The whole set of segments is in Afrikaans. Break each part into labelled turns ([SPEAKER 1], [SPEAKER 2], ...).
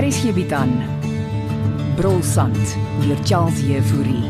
[SPEAKER 1] Hier is hierby dan. Brolsand deur Charles Jefouri.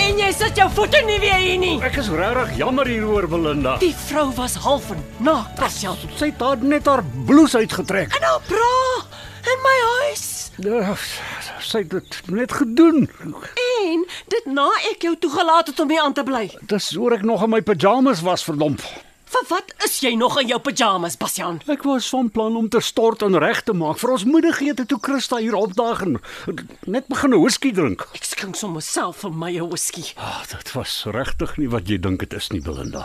[SPEAKER 2] En jy sit jou voete nie weer hier nie.
[SPEAKER 3] Ek is regtig jammer hieroor Belinda.
[SPEAKER 2] Die vrou was half en naak, Pascal.
[SPEAKER 3] Sy het haar net haar blouse uitgetrek.
[SPEAKER 2] En haar bra in my huis.
[SPEAKER 3] Ja, Sy het dit net gedoen.
[SPEAKER 2] En dit na ek jou toegelaat het om hier aan te bly.
[SPEAKER 3] Dis oor ek nog in my pyjamas was verdomp.
[SPEAKER 2] Vir wat is jy nog in jou pyjamas, Pascal?
[SPEAKER 3] Ek was van plan om te stort en reg te maak vir ons moedigheid toe Christa hier opdaag en net begin 'n whisky drink.
[SPEAKER 2] Ek skink sommer self vir my 'n whisky.
[SPEAKER 3] Ah, dit was regtig nie wat jy dink dit is nie Belinda.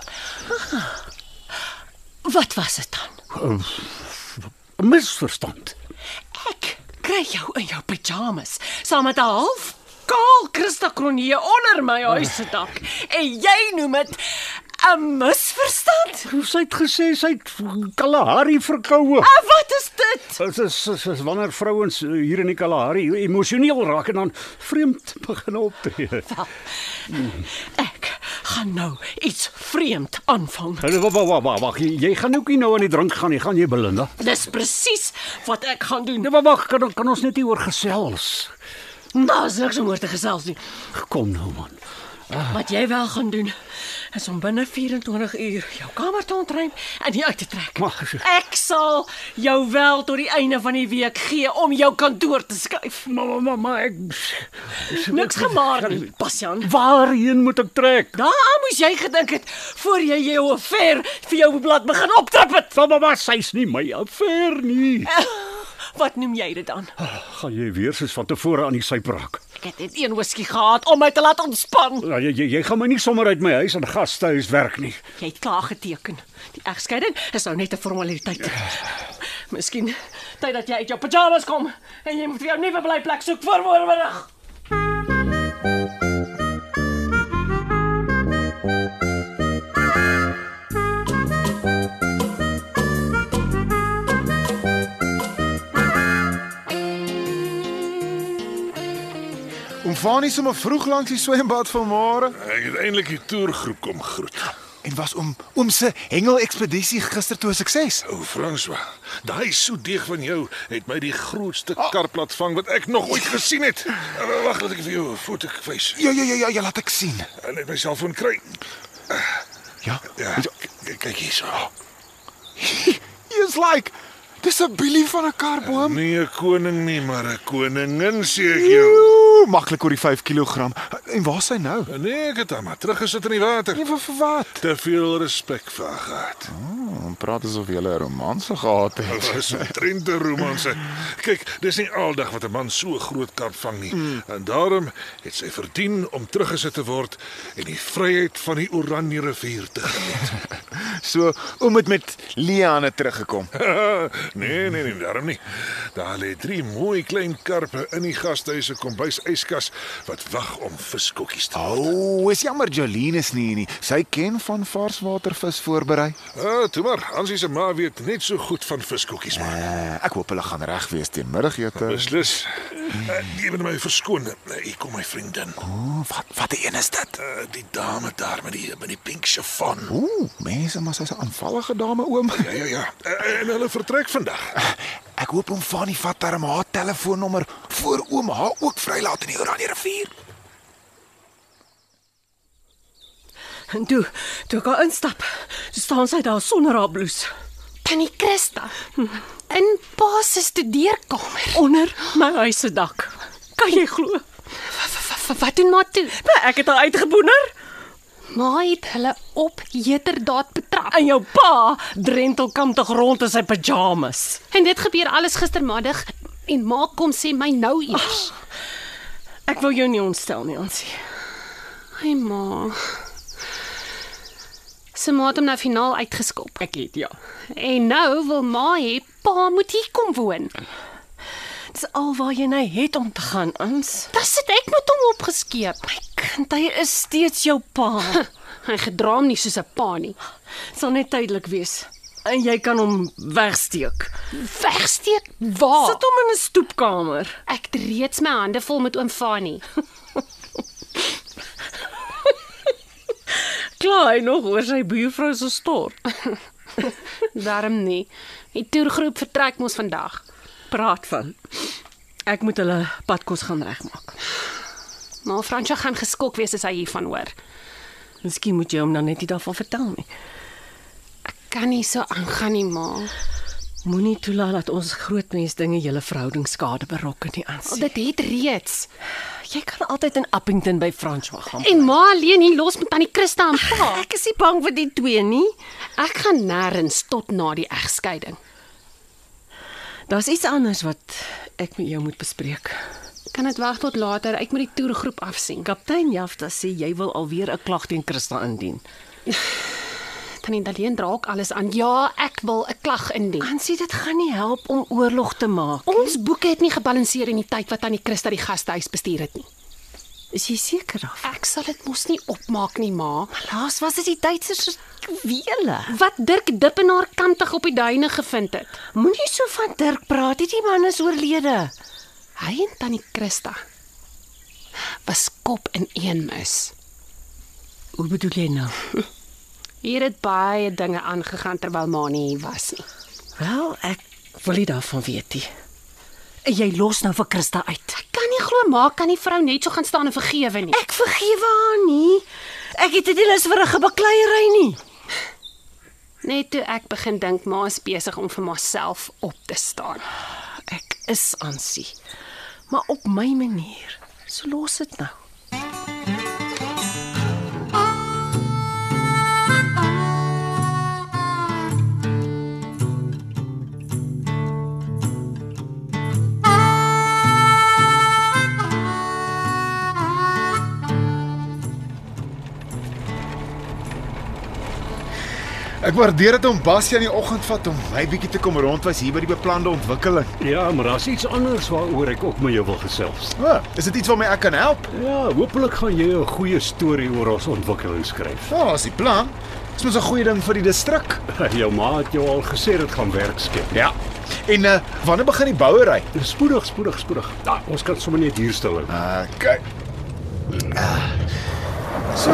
[SPEAKER 2] Wat was dit dan?
[SPEAKER 3] 'n Misverstand.
[SPEAKER 2] Ek kry jou in jou pyjamas saam met 'n half kaal Christa Kronje onder my huis se dak. En jy noem dit 'n misverstand?
[SPEAKER 3] Sy het gesê sy het Kalahari verkoue.
[SPEAKER 2] Ah, Wat is dit?
[SPEAKER 3] Dit is, is, is wanneer vrouens eh, hier in die Kalahari emosioneel raak en dan vreemd begin optree.
[SPEAKER 2] Wel. Ek gaan nou iets vreemd aanvang.
[SPEAKER 3] Hulle wag wag wag wag, jy, jy gaan ook nie nou aan die drink gaan nie, gaan jy Belinda?
[SPEAKER 2] Dis presies wat ek gaan doen.
[SPEAKER 3] Nee, wag wag, kan kan ons net hier oor gesels.
[SPEAKER 2] Daar's Nou niks om oor te gesels nie.
[SPEAKER 3] Kom nou man.
[SPEAKER 2] Wat jy wel gaan doen is om binne 24 uur jou kamer te ontruim en hier uit te trek.
[SPEAKER 3] Mag ek-
[SPEAKER 2] Ek sal jou wel tot die einde van die week gee om jou kantoor te skuif.
[SPEAKER 3] Mamma mamma, ek
[SPEAKER 2] Niks gemaak nie, Pasjan.
[SPEAKER 3] Waarheen moet ek trek?
[SPEAKER 2] Daar moes jy gedink het voor jy jou affair vir jou blad begin optrap het.
[SPEAKER 3] Mamma, mamma, sy's nie my affair nie.
[SPEAKER 2] Wat noem jy dit dan?
[SPEAKER 3] Gaan jy weer soos van tevore aan die syp raak?
[SPEAKER 2] Ek het net een whisky gehad om my te laat ontspan.
[SPEAKER 3] Ja, jy, jy jy gaan my nie sommer uit my huis en gastehuis werk nie.
[SPEAKER 2] Jy het klaar geteken. Die egskeiding is nou net 'n formaliteit. Miskien tyd dat jy uit jou pyjamas kom en jy moet vir jou nuwe blyplek soek vir môreoggend.
[SPEAKER 4] Om vaar nie sommer vroeg langs die swembad vanmôre.
[SPEAKER 5] Ek het eintlik die toergroep kom groet.
[SPEAKER 4] En was om oom se hengel ekspedisie gister toe 'n sukses.
[SPEAKER 5] O, François, daai soet deeg van jou het my die grootste karplat vang wat ek nog ooit gesien het. Eh, Wag, laat ek vir jou 'n foto wys.
[SPEAKER 4] Ja ja ja ja, ja laat ek sien.
[SPEAKER 5] En net my selfoon kry.
[SPEAKER 4] Ja.
[SPEAKER 5] Ja, k- kyk hierso.
[SPEAKER 4] He's like dis 'n bilie van 'n karboom.
[SPEAKER 5] Nee, 'n koning nie, maar 'n koningin sê ek jou.
[SPEAKER 4] Joe, maklik oor die 5 kg. En waar's hy nou?
[SPEAKER 5] Nee, ek het hom maar teruggesit in die water.
[SPEAKER 4] Nee, vir, vir wat?
[SPEAKER 5] Te veel respek vir haar gehad.
[SPEAKER 4] Ons praat asof jy 'n romans gehad het.
[SPEAKER 5] Dis 'n trente romanse. Kyk, dis nie aldag wat 'n man so groot karp vang nie. Mm. En daarom het sy verdien om teruggesit te word en die vryheid van die Oranje rivier te geniet.
[SPEAKER 4] So oom het met Liane teruggekom.
[SPEAKER 5] nee, nee, nee, daarom nie. Daar lê drie mooi klein karpe in die gastehuis se kombuis yskas wat wag om viskokkies te hou.
[SPEAKER 4] O, oh, is jammer Jolene is nie hier nie. Sy ken van varswatervis voorberei.
[SPEAKER 5] Ah, toe maar, Hansie se ma weet net so goed van viskokkies maak.
[SPEAKER 4] Uh, ek hoop hulle gaan reg wees teen middagete.
[SPEAKER 5] Beslis. Uh, jy moet my verskoon. Eh, Hier kom my vriendin.
[SPEAKER 4] O, wat wat 'n een is dit?
[SPEAKER 5] Uh, die dame daar met die met die pink chiffon.
[SPEAKER 4] Ooh, mense, maar sy's 'n aanvallige dame oom.
[SPEAKER 5] Ja ja ja. Eh, En hulle vertrek vandag.
[SPEAKER 4] ja. Ek hoop hom van die vat darm haar telefoonnommer voor oom haar ook vrylaat in die Oranje rivier.
[SPEAKER 2] En toe, toe ek haar instap, toe staan sy daar sonder haar blouse
[SPEAKER 6] Tannie Christa. In pa se studeerkamer.
[SPEAKER 2] onder my huis se dak. Kan jy glo?
[SPEAKER 6] W- w- Wat doen maar toe?
[SPEAKER 2] Maar Ek het haar uitgeboener
[SPEAKER 6] Ma het hulle op heterdaad betrap.
[SPEAKER 2] en jou pa drentelkantig rond in sy pyjamas.
[SPEAKER 6] En dit gebeur alles gistermiddag en ma kom sê my nou eers.
[SPEAKER 2] Ek wil jou nie ontstel nie, Ansie.
[SPEAKER 6] Ai ma. se ma het hom nou finaal uitgeskop.
[SPEAKER 2] Ek het ja.
[SPEAKER 6] En nou wil ma hê pa moet hier kom woon.
[SPEAKER 2] Dis al waar jy nou het om te gaan, Ans.
[SPEAKER 6] Dis dit ek met hom opgeskeep.
[SPEAKER 2] My kind, hy is steeds jou pa.
[SPEAKER 6] Hy gedra hom nie soos 'n pa nie.
[SPEAKER 2] Sal net tydelik wees. En jy kan hom wegsteek.
[SPEAKER 6] Wegsteek waar?
[SPEAKER 2] Sit hom in 'n stoepkamer.
[SPEAKER 6] Ek het reeds my hande vol met oom Fanie.
[SPEAKER 2] Klaar hy nog oor sy buurvrou se stort.
[SPEAKER 6] Darm nie. Die toergroep vertrek mos vandag.
[SPEAKER 2] Praat van. Ek moet hulle padkos gaan regmaak.
[SPEAKER 6] Maar Fransja gaan geskok wees as hy hiervan hoor.
[SPEAKER 2] Miskien moet jy hom dan net nie daarvan vertel nie.
[SPEAKER 6] Kan nie so aangaan nie, ma.
[SPEAKER 2] Moenie toelaat dat ons groot mens dinge julle verhouding skade berokken nie, Ans.
[SPEAKER 6] Al dit het reeds.
[SPEAKER 2] Jy kan altyd in Appington by François gaan.
[SPEAKER 6] En ma alleen hier los met tannie Christa en pa.
[SPEAKER 2] Ek is nie bang vir die twee nie.
[SPEAKER 6] Ek gaan nêrens tot na die egskeiding.
[SPEAKER 2] Daar's iets anders wat ek met jou moet bespreek.
[SPEAKER 6] Kan dit wag tot later? Ek moet die toergroep afsien.
[SPEAKER 2] Kaptein Jafta sê jy wil alweer 'n klag teen Christa indien.
[SPEAKER 6] Tannie Daleen dra ook alles aan. Ja, ek wil 'n klag indien.
[SPEAKER 2] Ansie, dit gaan nie help om oorlog te maak.
[SPEAKER 6] Ons boeke het nie gebalanseer in die tyd wat tannie Christa die gastehuis bestuur het nie.
[SPEAKER 2] Is jy seker daarvan?
[SPEAKER 6] Ek sal dit mos nie opmaak nie, ma.
[SPEAKER 2] Laas was dit die Duitsers wiele.
[SPEAKER 6] Wat Dirk Dippenaar kantig op die duine gevind het.
[SPEAKER 2] Moenie so van Dirk praat, die man is oorlede.
[SPEAKER 6] Hy en tannie Christa was kop in een mis.
[SPEAKER 2] Hoe bedoel jy nou?
[SPEAKER 6] Hier het baie dinge aangegaan terwyl ma nie hier was nie.
[SPEAKER 2] Wel, ek wil nie daarvan weet nie. Jy los nou vir Christa uit.
[SPEAKER 6] Ek kan nie glo ma kan die vrou net so gaan staan en vergewe nie.
[SPEAKER 2] Ek vergewe haar nie. Ek het dit nie lus vir 'n gebakleierery nie.
[SPEAKER 6] Net toe ek begin dink ma is besig om vir myself op te staan.
[SPEAKER 2] Ek is Ansie. Maar op my manier. So los dit nou.
[SPEAKER 4] Ek waardeer dit om Basie in die oggend vat om my bietjie te kom rondwys hier by die beplande ontwikkeling.
[SPEAKER 3] Ja, maar daar's iets anders waaroor ek ook met jou wil gesels.
[SPEAKER 4] O, oh, is dit iets waarmee ek kan help?
[SPEAKER 3] Ja, hopelik gaan jy 'n goeie storie oor ons ontwikkeling skryf.
[SPEAKER 4] Ja, oh, as die plan. Dis mos 'n goeie ding vir die distrik.
[SPEAKER 3] Jou ma het jou al gesê dit gaan werk skep.
[SPEAKER 4] Ja. En uh, wanneer begin die bouery?
[SPEAKER 3] Spoedig, spoedig, spoedig. Ja, ons kan sommer net hier stil hou.
[SPEAKER 4] Uh, kyk. Ah. So,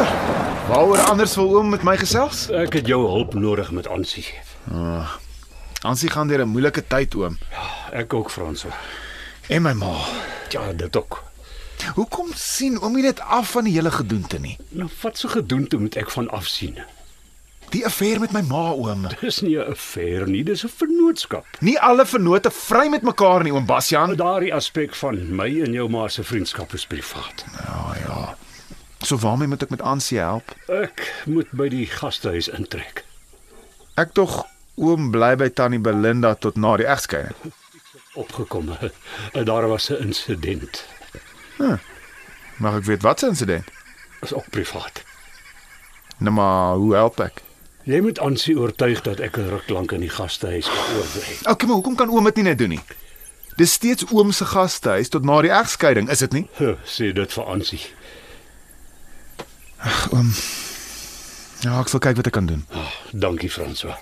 [SPEAKER 4] waaroor anders wil oom met my gesels?
[SPEAKER 3] Ek het jou hulp nodig met Ansie.
[SPEAKER 4] Ansie gaan deur 'n moeilike tyd oom
[SPEAKER 3] Ek ook Franso.
[SPEAKER 4] en my ma.
[SPEAKER 3] Ja, dit ook.
[SPEAKER 4] Hoekom sien oom nie dit af van die hele gedoente nie?
[SPEAKER 3] Nou wat so gedoente moet ek van afsien.
[SPEAKER 4] Die affære met my ma oom.
[SPEAKER 3] Dis nie 'n affair nie, dis 'n vennootskap.
[SPEAKER 4] Nie alle vennote vry met mekaar nie oom Bastian.
[SPEAKER 3] Daardie aspek van my en jou ma se vriendskap is privaat.
[SPEAKER 4] Ja ja. So waarmee moet ek met Ansie help?
[SPEAKER 3] Ek moet by die gastehuis intrek.
[SPEAKER 4] Ek tog oom bly by tannie Belinda tot na die egskeiding.
[SPEAKER 3] Opgekom. Daar was 'n insident.
[SPEAKER 4] Mag ek weet wat se insident?
[SPEAKER 3] Is ook privaat.
[SPEAKER 4] Nou maar, hoe help ek?
[SPEAKER 3] Jy moet Ansie oortuig dat ek 'n ruk lank in die gastehuis kan oorbly.
[SPEAKER 4] Okay, maar hoekom kan oom dit nie net doen nie? Dis steeds oom se gastehuis tot na die egskeiding, is dit nie?
[SPEAKER 3] Huh, Sê dit vir Ansie.
[SPEAKER 4] Ja, ek sal kyk wat ek kan doen.
[SPEAKER 3] Ah, dankie François.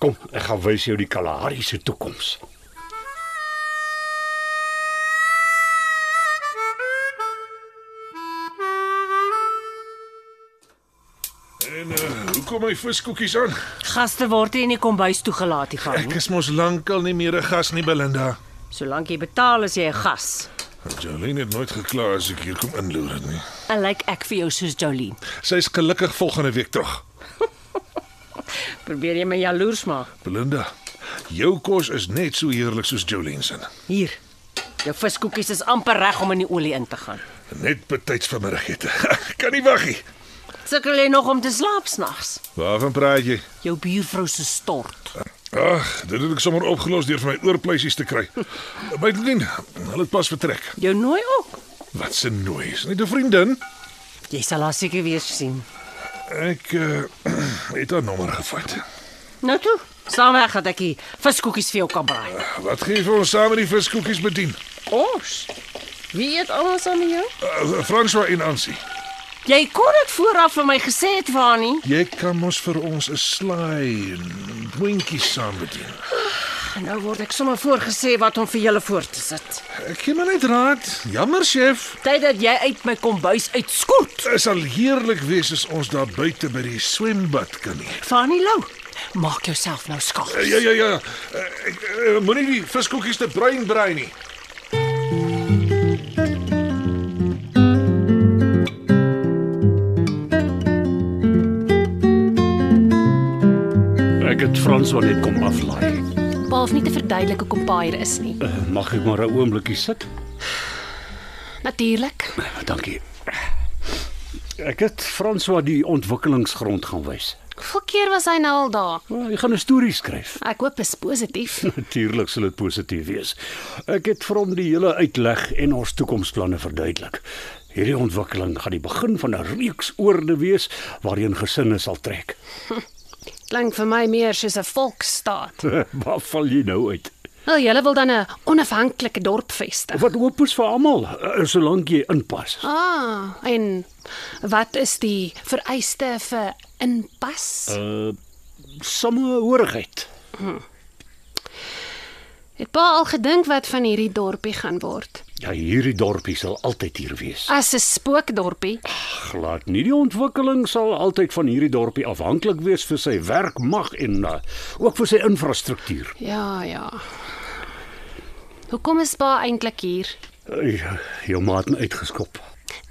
[SPEAKER 3] Kom, ek gaan wys jou die Kalahari se toekoms.
[SPEAKER 5] En uh, hoe kom my viskoekies aan?
[SPEAKER 2] Gaste word nie in die kombuis toegelaat nie gaan
[SPEAKER 5] Ek
[SPEAKER 2] nie.
[SPEAKER 5] is mos lankal nie meer 'n gas nie, Belinda.
[SPEAKER 2] Solank jy betaal as jy 'n gas.
[SPEAKER 5] Jolene het nooit gekla as ek hier kom inloer het nie.
[SPEAKER 2] En lyk like ek vir jou soos Jolene.
[SPEAKER 5] Sy's gelukkig volgende week terug.
[SPEAKER 2] Probeer jy my jaloers maak?
[SPEAKER 5] Belinda, jou kos is net so heerlik soos Jolene se.
[SPEAKER 2] Hier. Jou viskoekies is amper reg om in die olie in te gaan.
[SPEAKER 5] Net betyds vanmiddagete. kan nie wag nie.
[SPEAKER 2] Sukkel jy nog om te slaap snags?
[SPEAKER 5] Waarvan praat jy?
[SPEAKER 2] Jou buurvrou se stort.
[SPEAKER 5] Ag, dit het ek sommer opgelos deur vir my oorpleisies te kry. Bytendien, hulle het pas vertrek.
[SPEAKER 2] Jou nooi ook.
[SPEAKER 5] Wat 'n nooi. Is Net 'n vriendin.
[SPEAKER 2] Jy sal haar seker weer sien.
[SPEAKER 5] Ek uh, het haar nommer gevat.
[SPEAKER 2] Nou toe, saam weg dat ek die viskoekies vir jou kan braai.
[SPEAKER 5] Wat gee jy vir ons saam met die viskoekies bedien?
[SPEAKER 2] Ons. Wie eet almal saam met jou?
[SPEAKER 5] Uh, François en Ansie.
[SPEAKER 2] Jy kon dit vooraf vir my gesê het, Vani.
[SPEAKER 5] Jy kan mos vir ons 'n slaai en boontjies saam bedien.
[SPEAKER 2] En nou word ek sommer voorgesê wat om vir julle voor te sit.
[SPEAKER 5] Ek gee maar net raad. Jammer, chef.
[SPEAKER 2] Tyd dat jy uit my kombuis uitskoot.
[SPEAKER 5] Dit sal heerlik wees as ons daar buite by die swembad kan eet.
[SPEAKER 2] Vani Lou, maak jouself nou skaal.
[SPEAKER 5] Ja ja ja. Eh, Ek eh, moenie die viskoekies te bruin brei nie.
[SPEAKER 3] Ek het Frans wel net kom aflaai.
[SPEAKER 6] Pa hoef nie te verduidelik hoekom pa hier is nie.
[SPEAKER 3] Eh, Mag ek maar 'n oombliekie sit?
[SPEAKER 6] Natuurlik.
[SPEAKER 3] Dankie. Ek het Frans wat die ontwikkelingsgrond gaan wys.
[SPEAKER 6] Hoeveel keer was hy nou al daar?
[SPEAKER 3] Wel, Hy gaan 'n storie skryf.
[SPEAKER 6] Ek hoop is positief.
[SPEAKER 3] Natuurlik sal dit positief wees. Ek het vir hom die hele uitleg en ons toekomsplanne verduidelik. Hierdie ontwikkeling gaan die begin van 'n reeks oorde wees waarheen gesinne sal trek.
[SPEAKER 6] Klink vir my meer soos 'n volksstaat.
[SPEAKER 3] Waar val jy nou uit?
[SPEAKER 6] Wel, julle wil dan 'n onafhanklike dorp vestig.
[SPEAKER 3] Wat oop is vir almal, eh, solank jy inpas.
[SPEAKER 6] Ah, en wat is die vereiste vir inpas?
[SPEAKER 3] Samehorigheid.
[SPEAKER 6] Het pa al gedink wat van hierdie dorpie gaan word?
[SPEAKER 3] Ja, hierdie dorpie sal altyd hier wees.
[SPEAKER 6] As 'n spookdorpie.
[SPEAKER 3] Glad nie. Die ontwikkeling sal altyd van hierdie dorpie afhanklik wees vir sy werkmag en uh, ook vir sy infrastruktuur.
[SPEAKER 6] Ja, ja. Hoekom is pa eintlik hier?
[SPEAKER 3] Uh, jou maat het my uitgeskop.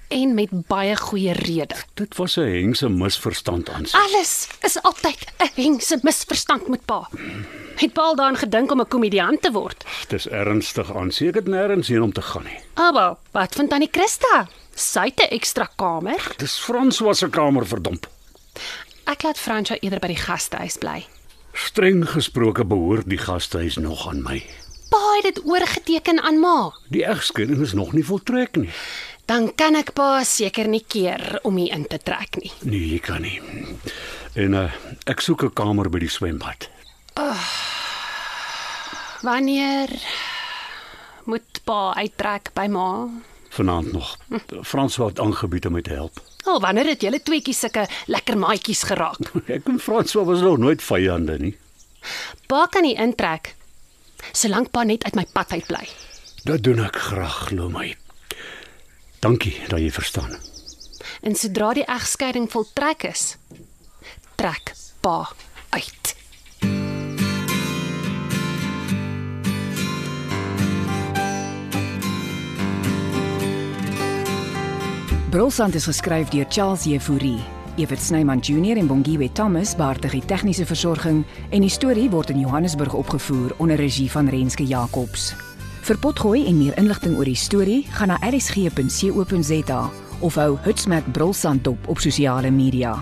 [SPEAKER 6] En met baie goeie rede.
[SPEAKER 3] Dit was 'n hengse misverstand aan sy.
[SPEAKER 6] Alles is altyd 'n hengse misverstand met pa. Het pa al daaraan gedink om 'n komediant te word?
[SPEAKER 3] Dis ernstig aan. Seker dit nêrens heen om te gaan nie.
[SPEAKER 6] Aba, Ah, wat van tannie Christa? Sy het 'n ekstra kamer.
[SPEAKER 3] Dis Frans was se kamer verdomp.
[SPEAKER 6] Ek laat Fransja eerder by die gastehuis bly.
[SPEAKER 3] Streng gesproke behoort die gastehuis nog aan my.
[SPEAKER 6] Pa het dit oorgeteken aan ma.
[SPEAKER 3] Die egskeiding is nog nie voltrek nie.
[SPEAKER 6] Dan kan ek pa seker nie keer om hier in te trek nie.
[SPEAKER 3] Nee, jy kan nie. En uh, ek soek 'n kamer by die swembad.
[SPEAKER 6] Wanneer moet pa uittrek by ma?
[SPEAKER 3] Vanaand nog. Frans wou aangebied om my te help.
[SPEAKER 6] Al wanneer het julle tweeetjies sulke lekker maatjies geraak?
[SPEAKER 3] Ek en Frans was nog nooit vyande nie.
[SPEAKER 6] Pa kan nie intrek. Solank pa net uit my pad uit bly.
[SPEAKER 3] Dat doen ek graag, glo my. Dankie dat jy verstaan.
[SPEAKER 6] En sodra die egskeiding voltrek is, trek pa uit.
[SPEAKER 1] Brolsand is geskryf deur Charles Jefouri. Evert Snyman Junior en Bongwe Thomas baartig die tegniese versorging en die storie word in Johannesburg opgevoer onder regie van Renske Jacobs. Vir potgooi en meer inligting oor die storie, gaan na rsg.co.za of hou Hutsmerk Brolsand dop op sosiale media.